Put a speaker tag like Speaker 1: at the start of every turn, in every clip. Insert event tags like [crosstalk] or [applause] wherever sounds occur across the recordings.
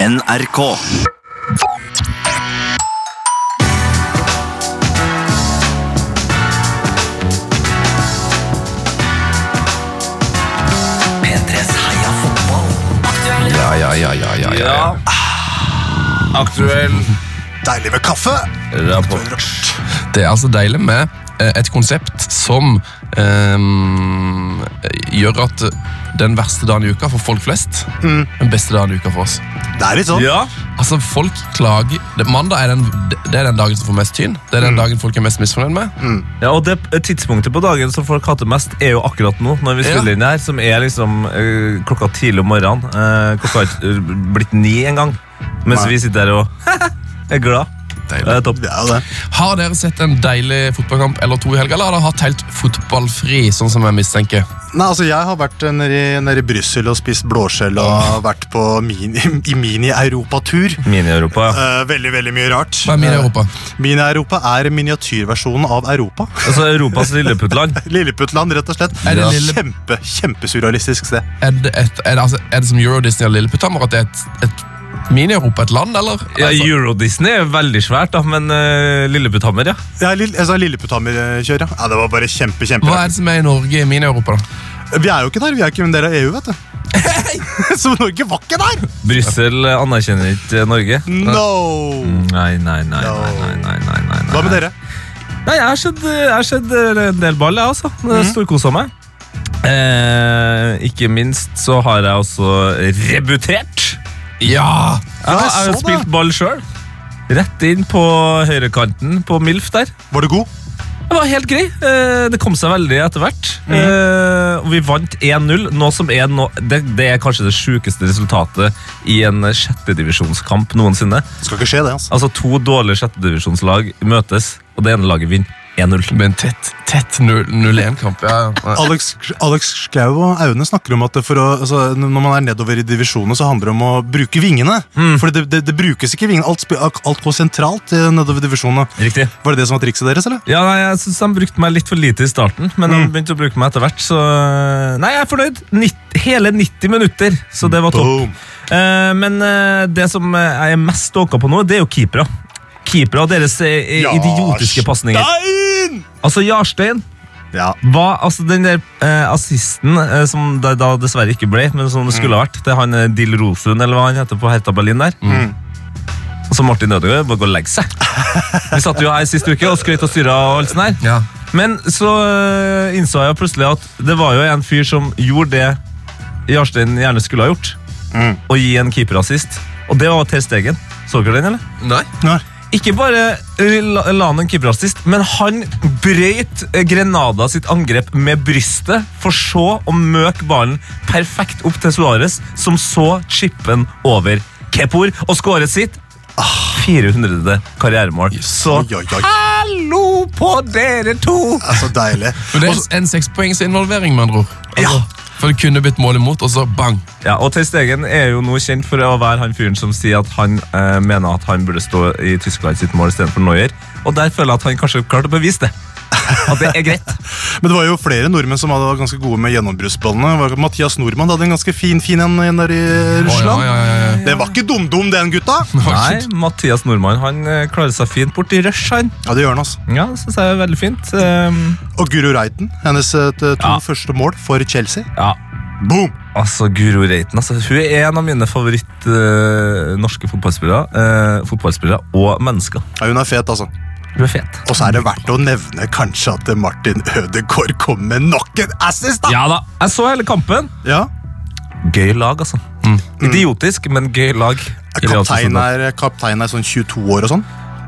Speaker 1: NRK. P3s heia fotball.
Speaker 2: Ja, ja, ja, ja, ja, ja.
Speaker 3: Ja. Aktuell
Speaker 4: Deilig med kaffe.
Speaker 3: rapport.
Speaker 2: Det er altså deilig med eh, et konsept som ehm, gjør at den verste dagen i uka for folk flest,
Speaker 3: Mm.
Speaker 2: den beste dagen i uka for oss.
Speaker 4: Det er litt sånn.
Speaker 3: Ja.
Speaker 2: Altså, folk klager det, Mandag er den, det er den dagen som får mest tyn. Det er
Speaker 3: Mm.
Speaker 2: den dagen folk er mest misfornøyd med.
Speaker 3: ja, og det tidspunktet på dagen som folk hater mest, er jo akkurat nå. Når vi
Speaker 2: Ja.
Speaker 3: spiller inn det her, som er liksom eh, klokka tidlig om morgenen. Eh, klokka har ikke eh, blitt ni engang. Mens
Speaker 4: Nei.
Speaker 3: vi sitter her og [laughs] er glad. Det
Speaker 2: Deilig.
Speaker 3: er topp.
Speaker 4: Det er jo det.
Speaker 2: Har dere sett en deilig fotballkamp eller to i helga, eller har dere hatt helt fotballfri, sånn som jeg mistenker?
Speaker 4: Nei, altså Jeg har vært eh, nede i, nede i Brussel og spist blåskjell og vært på mini, i mini-europatur.
Speaker 3: Mini-Europa, ja.
Speaker 4: Eh, veldig veldig mye rart.
Speaker 2: Hva er min Europa?
Speaker 4: Eh, Mini-Europa er miniatyrversjonen av Europa. [laughs]
Speaker 3: Altså Europas lilleputtland.
Speaker 4: Lilleputtland, rett og slett.
Speaker 2: Er det
Speaker 4: Ja.
Speaker 2: lille-
Speaker 4: Kjempe, Kjempesurrealistisk sted.
Speaker 2: Er det, et, er det, altså, er det som Euro Disney og Lilleputthammer at det er et, et mini-Europa, et land, eller?
Speaker 3: Ja,
Speaker 2: Altså,
Speaker 3: Euro-Disney er jo veldig svært, da, men uh, Lilleputthammer, ja.
Speaker 4: Ja, lill, altså, Lilleputthammer-kjøret. Ja, det var bare kjempe, kjempe
Speaker 2: hva er det som er i Norge i mini-Europa, da?
Speaker 4: Vi er jo ikke der, vi er ikke en del av EU, vet du. [laughs] Så Norge var ikke der!
Speaker 3: Brussel eh, anerkjenner ikke Norge. Eh,
Speaker 4: No!
Speaker 2: Mm.
Speaker 3: Nei, nei, nei,
Speaker 4: No.
Speaker 3: nei, nei, nei, nei, nei.
Speaker 4: Hva med dere?
Speaker 3: Nei, jeg har sett, jeg har sett eh, en del ball, jeg, altså. Storkosa meg. Eh, ikke minst så har jeg også rebutert.
Speaker 2: Ja!
Speaker 3: Jeg, har- jeg har
Speaker 4: jeg så
Speaker 3: jo
Speaker 4: det.
Speaker 3: spilt ball sjøl. Rett inn på høyrekanten på MILF der.
Speaker 4: Var du god?
Speaker 3: Det var helt grei. Eh, Det kom seg veldig etter hvert. Eh, og Vi vant 1-0. Noe som er nå- det, det er kanskje det sjukeste resultatet i en eh, sjettedivisjonskamp noensinne.
Speaker 4: Skal ikke skje det, altså.
Speaker 3: Altså To dårlige sjettedivisjonslag møtes, og det ene laget vinner 1-0.
Speaker 2: Med en tett, tett 0-1-kamp. Ja, ja.
Speaker 4: Alex, Alex Schou og Aune snakker om at det for å, altså, når man er nedover i divisjonene, så handler det om å bruke vingene. For det, det, det brukes ikke vingene. Alt, spi- alt går sentralt eh, nedover i divisjonene.
Speaker 3: Riktig.
Speaker 4: Var det det som var trikset deres, eller?
Speaker 3: Ja, nei, jeg synes han brukte meg litt for lite i starten, men han begynte å bruke meg etter hvert, så Nei, jeg er fornøyd. Nitt- hele 90 minutter, så det var topp.
Speaker 4: Boom!
Speaker 3: Eh, men eh, det som eh, jeg er mest ståka på nå, det er jo keepere. Keepere og deres eh, idiotiske pasninger.
Speaker 4: Stein!
Speaker 3: Altså, Jarstein
Speaker 4: Ja.
Speaker 3: var altså den der eh, assisten eh, som det da dessverre ikke ble, men som det skulle ha vært, til han eh, Dil Rosund, eller hva han heter, på Hertha Berlin der.
Speaker 4: Mm.
Speaker 3: Og så Martin Ødegaard bare går og legger seg. Vi satt jo her sist uke og skrøt og styra og alt sånt her.
Speaker 2: ja.
Speaker 3: Men så øh, innså jeg plutselig at det var jo en fyr som gjorde det Jarstein gjerne skulle ha gjort.
Speaker 4: Mm.
Speaker 3: Å gi en keeperassist. Og det var Ter Stegen. Så dere den, eller?
Speaker 2: Nei?
Speaker 4: Nei.
Speaker 3: Ikke bare øh, la la han en keeperassist, men han brøyt øh, Grenada sitt angrep med brystet, for så å møke ballen perfekt opp til Suárez, som så chippen over Kepor og skåret sitt 400. karrieremål. Så
Speaker 4: Oi, oi, oi.
Speaker 3: hallo på dere to!
Speaker 4: Det er så deilig.
Speaker 2: Men det er en sekspoengsinvolvering, med andre ord. Altså, For det kunne blitt mål imot, og så bang.
Speaker 3: Ja, og Ter Stegen er jo nå kjent for å være han fyren som sier at han eh, mener at han burde stå i Tyskland sitt mål istedenfor Neuer. Og der føler jeg at han kanskje klarte å bevise det. At det er greit.
Speaker 4: Men det var jo flere nordmenn som hadde- var ganske gode med gjennombruddsballene. Det var Mathias Nordmann hadde en ganske fin fin en en der i Russland.
Speaker 2: Å, ja, ja, ja, ja.
Speaker 4: Det var ikke dum-dum, den [laughs] gutta!
Speaker 3: [laughs] Nei, Mathias Nordmann han eh, klarer seg fint bort i rush, han.
Speaker 4: Ja, det gjør han, altså.
Speaker 3: Ja, det synes jeg er veldig fint. Ehm,
Speaker 4: Og Guro Reiten. Hennes eh, to
Speaker 3: Ja.
Speaker 4: første mål for Chelsea.
Speaker 3: ja,
Speaker 4: Boom!
Speaker 3: altså Guro Reiten. Altså, hun er en av mine favoritt eh, norske fotballspillere. eh, fotballspillere og mennesker.
Speaker 4: Ja, hun er fet, altså.
Speaker 3: Hun er fet.
Speaker 4: Og så er det verdt å nevne kanskje at Martin Ødegaard kom med nok en assist, da!
Speaker 3: Ja da. Jeg så hele kampen.
Speaker 4: Ja.
Speaker 3: Gøy lag, altså. Idiotisk, men gøy lag.
Speaker 4: Kaptein er, kaptein er sånn 22 år og sånn.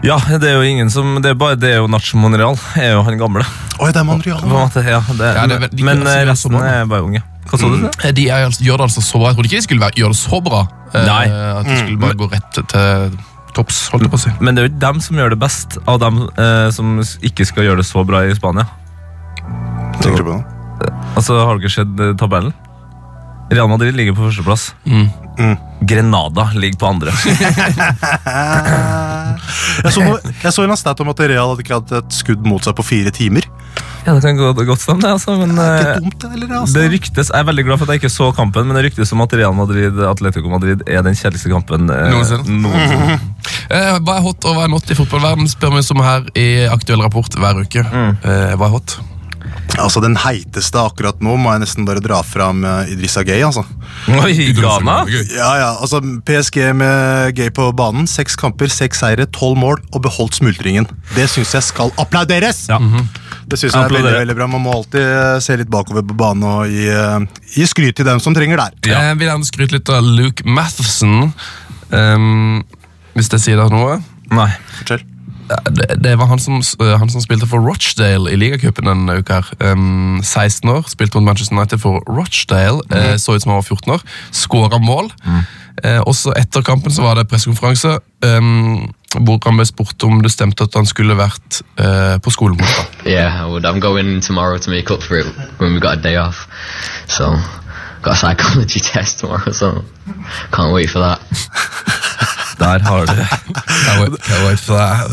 Speaker 3: Ja, det er jo ingen som Det er, bare, det er jo Nacho Monreal. Er jo han gamle.
Speaker 4: Oi, det er Monreal.
Speaker 3: På en måte, ja, det,
Speaker 2: Ja, det er vel- de kan
Speaker 3: men
Speaker 2: også
Speaker 3: eh,
Speaker 2: gjøre så
Speaker 3: resten
Speaker 2: bra, da.
Speaker 3: er bare unge. Hva sa du?
Speaker 2: Eh, De er, altså- gjør det altså så bra. Jeg trodde ikke de skulle være, gjøre det så bra. eh,
Speaker 3: Nei.
Speaker 2: At de skulle bare gå rett til- til topps, holdt jeg på å si.
Speaker 3: Men det er jo ikke dem som gjør det best av dem eh, som s- ikke skal gjøre det så bra i Spania.
Speaker 4: Tenker du på det?
Speaker 3: Altså, Har dere sett eh, tabellen? Real Madrid ligger på førsteplass.
Speaker 4: Mm.
Speaker 3: Grenada ligger på andre. [laughs]
Speaker 4: Jeg så, noe, jeg så en eller annen stat om at Real hadde ikke hatt et skudd mot seg på fire timer.
Speaker 3: Ja, det kan gå godt stemme, det, altså, men
Speaker 4: Det er
Speaker 3: eh,
Speaker 4: ikke dumt, det heller.
Speaker 3: det
Speaker 4: Altså.
Speaker 3: ryktes, Jeg er veldig glad for at jeg ikke så kampen, men det ryktes om at Real Madrid Atletico Madrid er den kjedeligste kampen eh,
Speaker 2: Noensinne.
Speaker 3: noensinne.
Speaker 2: Eh, hva er hot og hva er not i fotballverden, spør vi som her i Aktuell rapport hver uke.
Speaker 3: Mm.
Speaker 2: Eh, hva er hot?
Speaker 4: altså, Den heiteste akkurat nå må jeg nesten bare dra fram eh, Idrissa Gay. altså.
Speaker 2: Mm.
Speaker 3: Oi, Ghana?
Speaker 4: Ja, ja, altså PSG med Gay på banen. Seks kamper, seks seire, tolv mål og beholdt smultringen. Det syns jeg skal applauderes!
Speaker 3: Ja.
Speaker 4: Det synes jeg er veldig,
Speaker 3: Applauderer.
Speaker 4: veldig bra. Man må alltid eh, se litt bakover på banen og gi, eh, gi skryt til dem som trenger der.
Speaker 2: Ja. Jeg Eh, vil gjerne skryte litt av Luke Matheson. ehm, hvis jeg sier deg noe.
Speaker 3: Nei.
Speaker 4: Fortell.
Speaker 2: Det, det var han som, eh, han som spilte for Rochdale i ligacupen denne uka. her. Ehm, 16 år, spilte mot Manchester United for Rochdale. eh,
Speaker 3: Mm.
Speaker 2: så ut som han var 14 år. Skåra mål. Eh, også etter kampen så var det pressekonferanse ehm, hvor han ble spurt om det stemte at han skulle vært eh, på skolen. på onsdag.
Speaker 5: Yeah, I would. I'm going tomorrow to make up for it when we got a day off. So, got a psychology [laughs] test tomorrow, so can't wait for that.
Speaker 3: Der har du det.
Speaker 2: Can't [laughs] wait- can't wait for that.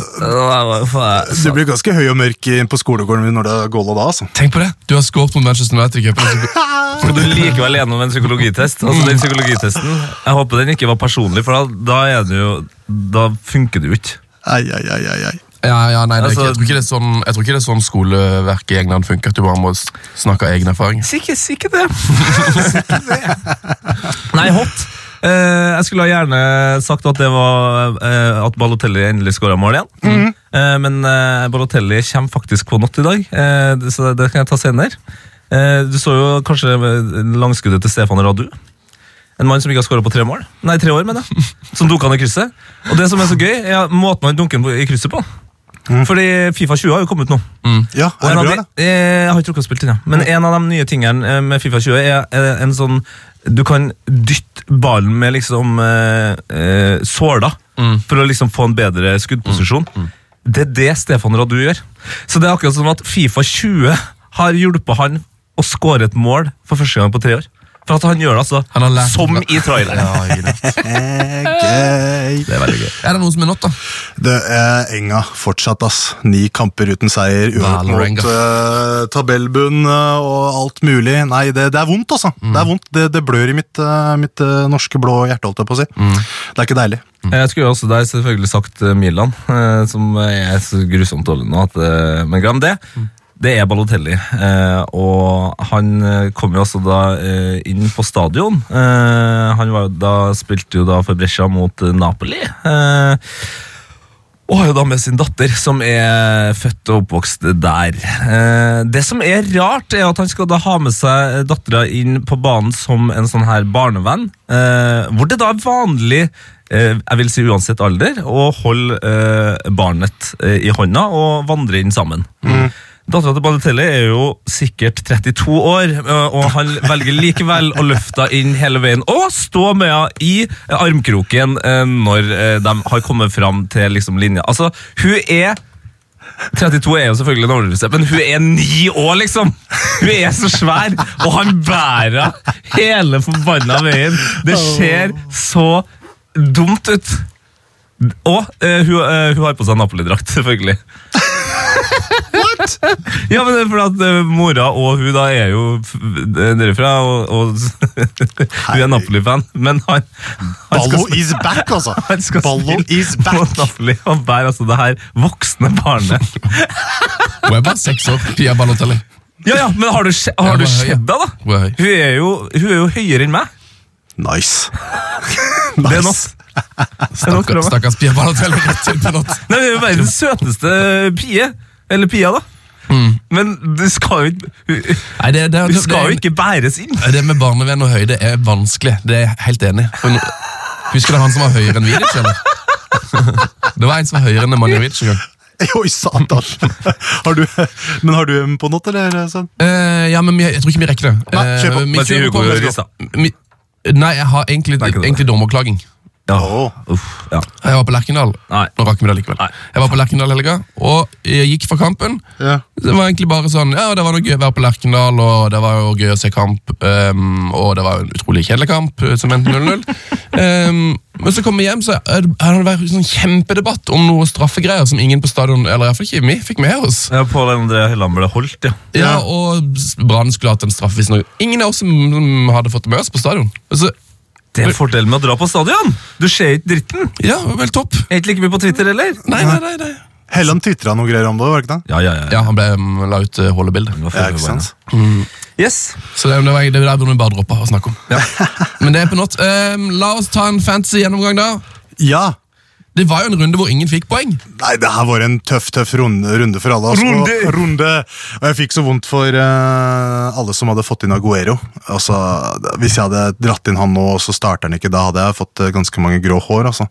Speaker 4: Du blir ganske høy og mørk i- på skolegården når det er goala da. altså.
Speaker 2: Tenk på det! Du har skåret mot Manchester United i cupen. og så-
Speaker 3: Skal du likevel gjennom en psykologitest? Altså den psykologitesten Jeg håper den ikke var personlig, for da, da, er det jo, da funker det jo ikke.
Speaker 4: Ai, ai, ai, ai, ai.
Speaker 2: Ja, ja, nei, det er
Speaker 3: Altså-
Speaker 2: ikke, jeg, tror ikke det er sånn, jeg tror ikke det er sånn skoleverk i England funker, at du bare må s- snakke av egen erfaring.
Speaker 3: Sikkert, sikkert det. Nei, hot. Eh, jeg skulle ha gjerne sagt at det var eh, at Balotelli endelig skåra mål igjen. Eh, men eh, Balotelli kommer faktisk på natt i dag, eh, det- så det kan jeg ta senere. Eh, du så jo kanskje eh, langskuddet til Stefan Radu. En mann som ikke har skåra på tre mål. Nei, tre år, mener jeg. Som dunka han i krysset. Og det som er så gøy, er måten han dunker den på- i krysset på. Fordi Fifa 20 har jo kommet nå.
Speaker 4: Ja,
Speaker 3: Og
Speaker 4: er
Speaker 3: en
Speaker 4: det
Speaker 3: av
Speaker 4: bra,
Speaker 3: de,
Speaker 4: da?
Speaker 3: eh, jeg har ikke rukket å spille den, ja. Men en av de nye tingene eh, med Fifa 20 er eh, en sånn Du kan dytte ballen med liksom eh, eh, såla for å liksom få en bedre skuddposisjon. Det er det Stefan Radu gjør. Så det er akkurat som at Fifa 20 har hjulpet han å skåre et mål for første gang på tre år. For at han gjør det altså
Speaker 2: Han har lært-
Speaker 3: som i traileren.
Speaker 2: Ja, genialt.
Speaker 4: Eh, gøy.
Speaker 3: Det er veldig gøy.
Speaker 2: [laughs] er det noen som er nådd, da?
Speaker 4: Det er Enga fortsatt, ass. Ni kamper uten seier, uavgjort
Speaker 2: Vålerenga.
Speaker 4: mot eh, tabellbunn eh, og alt mulig. Nei, det, det er vondt, altså.
Speaker 3: Mm.
Speaker 4: Det er vondt. Det, det blør i mitt, eh, mitt eh, norske blå hjerte, holdt jeg på å si.
Speaker 3: Mm.
Speaker 4: Det er ikke deilig.
Speaker 3: Eh, Jeg skulle jo også der selvfølgelig sagt eh, Milan, eh, som er så grusomt dårlig nå. At, eh, men glem det. Det er Balotelli. eh, Og han eh, kom jo også da eh, inn på stadion. Eh, Han var jo da, spilte jo da for Brescia mot eh, Napoli. eh, Og har jo da med sin datter, som er født og oppvokst der. Eh, Det som er rart, er at han skal da ha med seg dattera inn på banen som en sånn her barnevenn. eh, Hvor det da er vanlig, eh, jeg vil si uansett alder, å holde eh, barnet eh, i hånda og vandre inn sammen. Dattera til Balotelli er jo sikkert 32 år, eh, og han velger likevel å løfte henne inn hele veien og stå med henne i eh, armkroken eh, når eh, de har kommet fram til liksom linja. Altså, hun er 32 er jo selvfølgelig en overdrivelse, men hun er ni år, liksom! Hun er så svær, og han bærer hele forbanna veien. Det ser så dumt ut. Og eh, hun, eh, hun har på seg Napoli-drakt, selvfølgelig. Ja, men det er fordi at eh, mora og hun da er jo f- derifra, og, [laughs] og hun er Napoli-fan, men han, han
Speaker 4: Ballo
Speaker 3: spille-
Speaker 4: is back, altså!
Speaker 3: [laughs] han skal
Speaker 4: Ballo
Speaker 3: spille
Speaker 4: is
Speaker 3: på
Speaker 4: back!
Speaker 3: Napoli og bærer altså det her voksne barnet.
Speaker 2: Hun er bare seks år. Pia Balotelli.
Speaker 3: Ja, ja, men har du, skje-
Speaker 2: Jeg
Speaker 3: har du
Speaker 2: var høy, ja.
Speaker 3: sett deg, da?
Speaker 2: Hun er høy.
Speaker 3: Hun er, jo, hun er jo høyere enn meg. [laughs]
Speaker 4: Nice.
Speaker 3: Det er nok.
Speaker 4: Nice.
Speaker 3: Det er
Speaker 2: Stakkars,
Speaker 3: nok for meg.
Speaker 2: stakkars Pia Balotelli. Rett til på nått.
Speaker 3: Nei, Hun er jo verdens søteste pie. Eller pia, da. Men det skal jo ikke hun-
Speaker 2: Nei, det, det,
Speaker 3: Hun
Speaker 2: det,
Speaker 3: skal jo
Speaker 2: det,
Speaker 3: ikke bæres inn.
Speaker 2: det med barnevenn og høyde er vanskelig. Det er jeg helt enig i. For nå- Husker du han som var høyere enn Vidic, [laughs] eller? Det var en som var høyere enn Emmanuel Vidic en gang.
Speaker 4: [laughs] Oi, satan! [laughs] Har du, men har du dem på nåt, eller? Sven?
Speaker 2: Eh, ja, men vi- jeg tror ikke vi rekker det.
Speaker 4: Nei, kjør på.
Speaker 2: Eh, vi
Speaker 3: Bare si
Speaker 2: kjører
Speaker 3: Hugo
Speaker 2: på.
Speaker 3: Riis, da.
Speaker 2: Mi- Nei, jeg har egentlig,
Speaker 3: Nei, ikke det.
Speaker 2: egentlig dommerklaging.
Speaker 3: Ja.
Speaker 4: Åh.
Speaker 3: Uff, ja.
Speaker 2: Jeg var på Lerkendal.
Speaker 3: Nei.
Speaker 2: Nå rakk vi det likevel.
Speaker 3: Nei.
Speaker 2: Jeg var på Lerkendal i helga, og jeg gikk fra kampen.
Speaker 4: Ja.
Speaker 2: Det var egentlig bare sånn, ja, det var noe gøy å være på Lerkendal, og det var jo gøy å se kamp, ehm, og det var jo en utrolig kjedelig kamp, eh, som endte
Speaker 3: [laughs]
Speaker 2: 0-0. Ehm, men så kom vi hjem, så er det- hadde det vært en sånn kjempedebatt om noe straffegreier som ingen på stadion, eller i hvert fall ikke vi, fikk med oss.
Speaker 3: Ja, Pål André Helland ble holdt, ja.
Speaker 2: Ja, og Brann skulle hatt en straff hvis noe. Ingen av oss som, som hadde fått det med oss på stadion. Altså,
Speaker 3: Det er fordelen med å dra på stadion! Du ser ikke dritten.
Speaker 2: ja, det var helt topp.
Speaker 3: Er ikke like mye på Twitter heller.
Speaker 2: Nei, nei, nei, nei.
Speaker 4: Helland tvitra noe greier om det, var det ikke det?
Speaker 3: Ja, ja, ja.
Speaker 2: Ja, han ble, mm, la ut eh, holdebildet.
Speaker 3: Det var
Speaker 4: Ja,
Speaker 3: før vi
Speaker 4: ikke
Speaker 3: var
Speaker 4: sant?
Speaker 3: inne. Yes.
Speaker 2: Så det, det, var, det der burde vi bare droppe å snakke om. [laughs] Men det er på nåt. Ehm, la oss ta en fancy gjennomgang, da.
Speaker 4: Ja.
Speaker 2: Det var jo en runde hvor ingen fikk poeng.
Speaker 4: Nei, det her var en tøff tøff runde, runde for alle. Altså.
Speaker 3: Runde!
Speaker 4: Og- runde! Og jeg fikk så vondt for eh, alle som hadde fått inn Aguero. Altså, det- hvis jeg hadde dratt inn han nå, og så starter han ikke, da hadde jeg fått eh, ganske mange grå hår. Altså.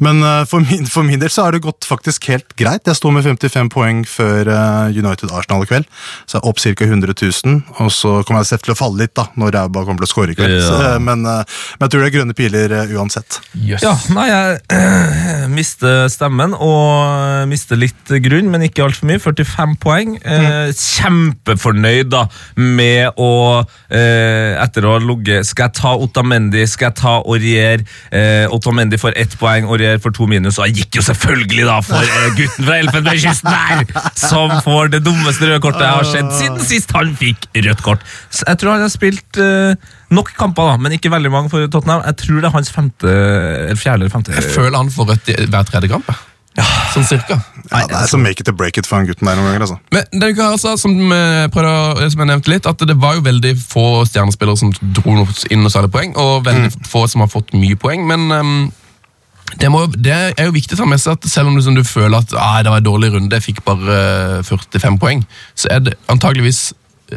Speaker 4: Men eh, for, min, for min del så har det gått faktisk helt greit. Jeg sto med 55 poeng før eh, United Arsenal i kveld, så jeg er opp ca. 100 000. Og så kommer jeg selv til å falle litt da, når jeg bare kommer til å score i kveld.
Speaker 3: Ja.
Speaker 4: Så, eh, men, eh, men jeg tror det er grønne piler eh, uansett.
Speaker 3: Ja, nei, jeg [clears throat] eh, mister stemmen og eh, mister litt grunn, men ikke altfor mye. 45 poeng. Eh, kjempefornøyd da med å eh, Etter å ha ligget Skal jeg ta Otamendi, skal jeg ta Aurier? Eh, Otamendi får ett poeng, Aurier får to minus, og jeg gikk jo selvfølgelig da for eh, gutten fra Elfenbenskysten der! Som får det dummeste røde kortet jeg har sett siden sist han fikk rødt kort. Så jeg tror han har spilt eh, Nok kamper, da, men ikke veldig mange for Tottenham. Jeg tror det er hans femte, eller fjerde eller femte.
Speaker 2: Jeg føler han får rødt i hver tredje kamp. jeg. Sånn cirka.
Speaker 4: Ja, det er så make it or break it for han gutten der noen ganger. altså.
Speaker 2: Men denne uka her, altså, som, eh, prøvde, å- som jeg nevnte litt, at det var jo veldig få stjernespillere som dro noe inn noe særlig poeng, og veldig få som har fått mye poeng, men ehm, det, må, jo- det er jo viktig å ta med seg at selv om liksom, du føler at ah, det var en dårlig runde, jeg fikk bare eh, 45 poeng, så er det antageligvis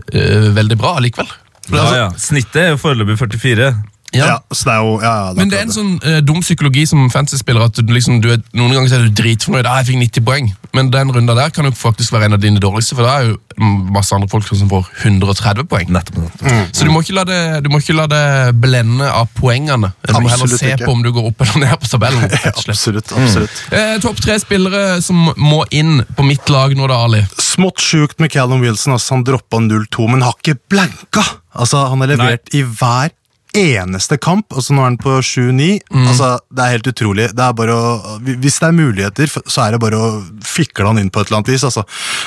Speaker 2: eh, veldig bra likevel.
Speaker 3: Ja,
Speaker 2: altså.
Speaker 3: ja. Snittet er jo foreløpig 44.
Speaker 4: Ja. så det er jo, ja, ja, det
Speaker 2: Men det er en sånn eh, dum psykologi som fantasy-spiller at du, liksom, du er, noen ganger så er du dritfornøyd. Ah, jeg fikk 90 poeng. Men den runda der kan jo faktisk være en av dine dårligste, for det er jo mm, masse andre folk som får 130 poeng.
Speaker 3: Nettopp, nettopp.
Speaker 2: Så du må, ikke la det, du må ikke la det blende av poengene. Du må heller
Speaker 4: Absolutt
Speaker 2: se
Speaker 4: ikke.
Speaker 2: på om du går opp eller ned på
Speaker 3: [laughs]
Speaker 2: tabellen. rett og slett.
Speaker 4: Absolutt. absolutt.
Speaker 2: Eh, Topp tre spillere som må inn på mitt lag nå, da, Ali.
Speaker 4: Smått sjukt med Callum Wilson. Altså, han droppa 0-2, men har ikke blanka! Altså, Han har levert i hver eneste kamp. altså Nå er han på 7-9. Altså, Det er helt utrolig. Det er bare å, hvis det er muligheter, f- så er det bare å fikle han inn på et eller annet vis. altså.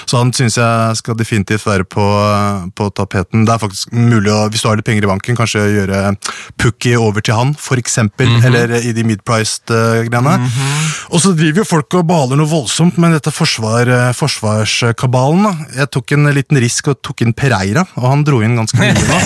Speaker 4: Så han syns jeg skal definitivt være på, på tapeten. Det er faktisk mulig å, hvis du har litt penger i banken, kanskje gjøre Pukki over til han, for eksempel. Eller i de mid-priced eh, greiene. Og så driver jo folk og baler noe voldsomt med dette forsvar, eh, forsvarskabalen. da. Jeg tok en liten risk og tok inn Pereira, og han dro inn ganske mye nå.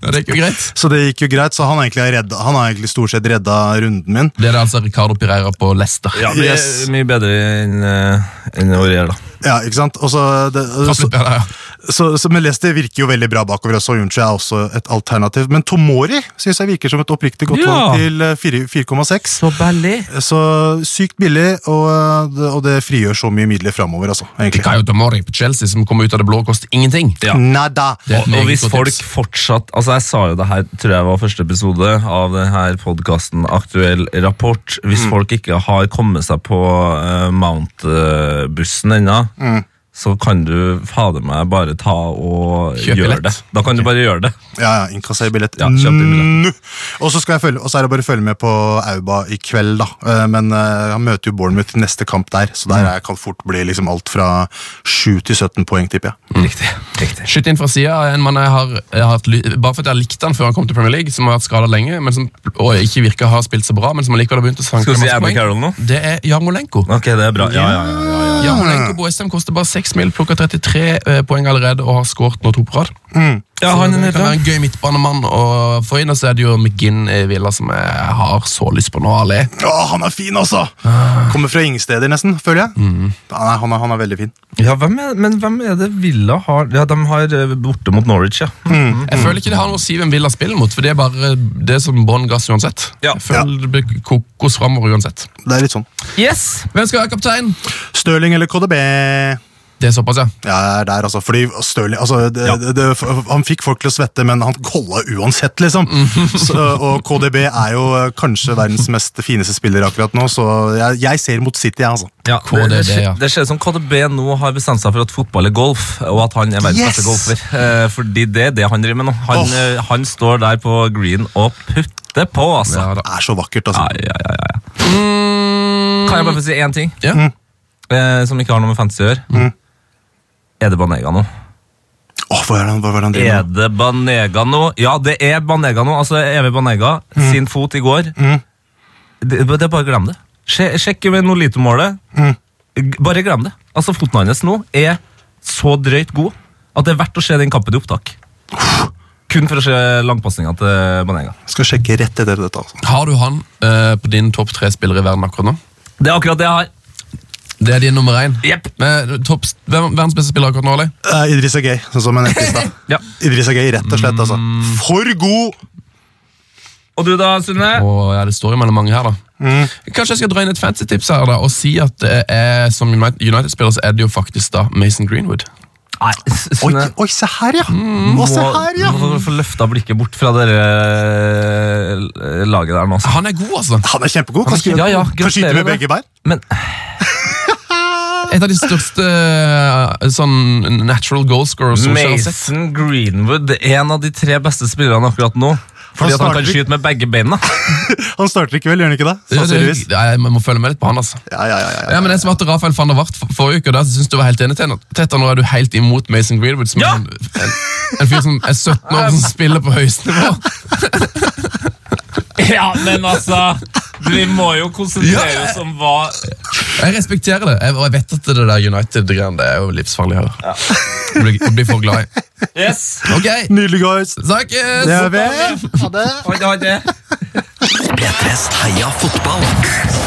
Speaker 2: Ja, det gikk jo greit.
Speaker 4: Så det gikk jo greit, så han, egentlig har redda, han har egentlig stort sett redda runden min.
Speaker 2: Det er det altså Ricardo Pireira på Leicester.
Speaker 3: Ja, det er
Speaker 4: Yes.
Speaker 3: mye bedre enn en Aurier, da.
Speaker 4: Ja, ikke sant? Og så, det,
Speaker 2: Traff
Speaker 3: altså-
Speaker 2: litt
Speaker 4: så,
Speaker 2: bedre, ja.
Speaker 4: så, så Men Leicester virker jo veldig bra bakover også, og Junche er også et alternativ. Men Tomori syns jeg virker som et oppriktig godt
Speaker 3: Ja.
Speaker 4: valg til eh, fire- 4,6.
Speaker 3: Så billig!
Speaker 4: Så sykt billig, og, det- og det frigjør så mye midler framover, altså. Egentlig.
Speaker 2: Kayo Tomori på Chelsea, som kommer ut av det blå, koster ingenting.
Speaker 3: Ja.
Speaker 4: Nada!
Speaker 2: Det er et
Speaker 3: Og, og
Speaker 2: meget
Speaker 3: hvis
Speaker 2: godt
Speaker 3: folk
Speaker 2: tips.
Speaker 3: fortsatt Altså Jeg sa jo det her, tror jeg var første episode av denne podkasten Aktuell rapport. Hvis
Speaker 2: Mm.
Speaker 3: folk ikke har kommet seg på eh, Mount-bussen ennå,
Speaker 2: Mm.
Speaker 3: så kan du fader meg bare ta og
Speaker 2: Kjøp
Speaker 3: gjøre
Speaker 2: billett.
Speaker 3: det. Da kan du bare gjøre det.
Speaker 4: Ja, ja, innkassere billett
Speaker 3: Ja, kjøp din
Speaker 4: nå!
Speaker 3: billett.
Speaker 4: Og så skal jeg følge, og så er det bare å følge med på Auba i kveld, da. Eh, Men eh, han møter jo Bournemouth i neste kamp der, så der er- kan fort bli liksom alt fra 7 til 17 poeng, tipper jeg.
Speaker 2: Mm.
Speaker 3: Riktig. Riktig.
Speaker 2: Skyt inn fra sida. En mann jeg har, jeg har hatt, ly- bare fordi jeg likte han før han kom til Premier League, som har vært skada lenge, men som og ikke virka å ha spilt så bra, men som allikevel har begynt å sanke
Speaker 3: Skal du si
Speaker 2: masse
Speaker 3: Andy
Speaker 2: poeng.
Speaker 3: Carroll nå?
Speaker 2: Det er Jarmolenko.
Speaker 3: Ok, det er bra. Ja, ja, ja, ja, ja.
Speaker 2: Jarmolenko på Westham koster bare seks mil, plukka 33 eh, poeng allerede og har skåret nå to på rad.
Speaker 3: ja
Speaker 2: Så
Speaker 3: han er
Speaker 2: det kan
Speaker 3: nede.
Speaker 2: være en gøy midtbanemann. Og for inn så er det jo McGinn i Villa som jeg har så lyst på nå, Ali.
Speaker 4: Å, han er fin, altså! Mm. Kommer fra ingen steder, nesten, føler jeg. Nei, han, er, han er veldig fin.
Speaker 3: Ja, hvem er, men hvem er det Villa har Ja, De har eh, borte mot Norwich, ja.
Speaker 2: Jeg
Speaker 3: Mm.
Speaker 2: føler ikke det har noe å si hvem Villa spiller mot, for det er bare det er som bånn gass uansett.
Speaker 3: Ja.
Speaker 2: Jeg føler det blir kokos framover uansett.
Speaker 4: Det er litt sånn.
Speaker 3: Yes!
Speaker 2: Hvem skal være kaptein?
Speaker 4: Stirling eller KDB?
Speaker 2: Det er såpass, ja.
Speaker 4: Ja, jeg er der, altså. Fordi Stirling altså, det,
Speaker 3: Ja.
Speaker 4: det, det, Han fikk folk til å svette, men han kolla uansett, liksom.
Speaker 3: Mhm.
Speaker 4: Så, og KDB er jo eh, kanskje verdens mest fineste spiller akkurat nå, så jeg, jeg ser mot City, jeg, altså.
Speaker 3: Ja,
Speaker 2: KDB,
Speaker 3: det, skje-
Speaker 2: ja.
Speaker 3: det skjer som KDB nå har bestemt seg for at fotball er golf, og at han er verdens
Speaker 4: Yes!
Speaker 3: beste golfer. Eh, fordi det er det han driver med nå. Han,
Speaker 4: Åh.
Speaker 3: eh, han står der på green og putter på, altså.
Speaker 2: Ja, da.
Speaker 4: Det er så vakkert, altså.
Speaker 3: Ai, ai, ai, ai. Kan jeg bare få si én ting
Speaker 2: Ja.
Speaker 3: eh, som ikke har noe med fantasy å gjøre?
Speaker 4: Mm.
Speaker 3: Er det Banega nå?
Speaker 4: Åh, hva er det han- hva var det han driver
Speaker 3: Er
Speaker 4: med?
Speaker 3: det Banega nå? Ja, det er Banega nå. Altså Evy Banega,
Speaker 4: Mm.
Speaker 3: sin fot i går. Det, det er bare glem det. Sje- Sjekk med Nolito-målet.
Speaker 4: Mm.
Speaker 3: G- Bare glem det. Altså Foten hans nå er så drøyt god at det er verdt å se den kampen i opptak. Kun for å se langpasninga til Banega.
Speaker 4: Skal sjekke rett etter dette, altså.
Speaker 2: Har du han eh, på din topp tre spillere i verden akkurat nå?
Speaker 3: Det er akkurat det jeg har.
Speaker 2: Det er din nummer én.
Speaker 3: Jep.
Speaker 2: Eh, topp, hvem, verdens beste spiller akkurat nå, Ali?
Speaker 4: Eh, Idris er gøy, sånn som jeg nevnte i stad.
Speaker 3: [laughs] Ja. Mm.
Speaker 4: Idris er gøy, rett og slett, altså. For god!
Speaker 3: Og du da, Sunne?
Speaker 2: Og ja, Det står jo mellom mange her, da. Kanskje jeg skal dra inn et fancy tips her da, og si at det er, som United- United-spiller så er det jo faktisk da Mason Greenwood.
Speaker 3: Nei,
Speaker 4: Oi,
Speaker 3: Sunne.
Speaker 4: oi, se her, ja! Å, se her, ja!
Speaker 3: Mm, Må få løfta blikket bort fra dere laget der nå. altså.
Speaker 2: Han er god, altså!
Speaker 4: Han er kjempegod.
Speaker 3: Han er
Speaker 4: Kan skyte,
Speaker 3: kjempe- ja, ja,
Speaker 4: kan skyte med
Speaker 3: gratulerer,
Speaker 4: begge bein.
Speaker 3: Men
Speaker 2: Et av de største eh, sånn natural goal scorers som skjer. sett.
Speaker 3: Mason Greenwood, en av de tre beste spillerne akkurat nå. Fordi at han kan
Speaker 4: starter-
Speaker 3: skyte med begge beina.
Speaker 4: Han starter i kveld, gjør han ikke det?
Speaker 2: Ja, det-
Speaker 4: Sannsynligvis.
Speaker 2: Nei, Jeg må følge med litt på han, altså.
Speaker 4: Ja, ja, ja, ja, ja.
Speaker 2: Ja, men Jeg svarte Rafael van der Wart for- forrige uke, og der synes du var helt enig. Tete. Tete, Nå er du helt imot Mason Greenwood, som
Speaker 3: Ja!
Speaker 2: er en, en, en fyr som er 17 år som spiller på høyeste nivå.
Speaker 3: [laughs] Ja, men altså Vi må jo konsentrere
Speaker 2: Ja.
Speaker 3: om hva
Speaker 2: Jeg respekterer det, jeg, og jeg vet at det der United-greiene det er jo livsfarlig her. Å bli- å bli for glad i.
Speaker 3: Yes!
Speaker 2: Ok, eh,
Speaker 4: Nydelig, guys.
Speaker 2: snakkes!
Speaker 4: Det er vi. Ha det.
Speaker 3: Ha det, ha det.
Speaker 1: P3s heia fotball.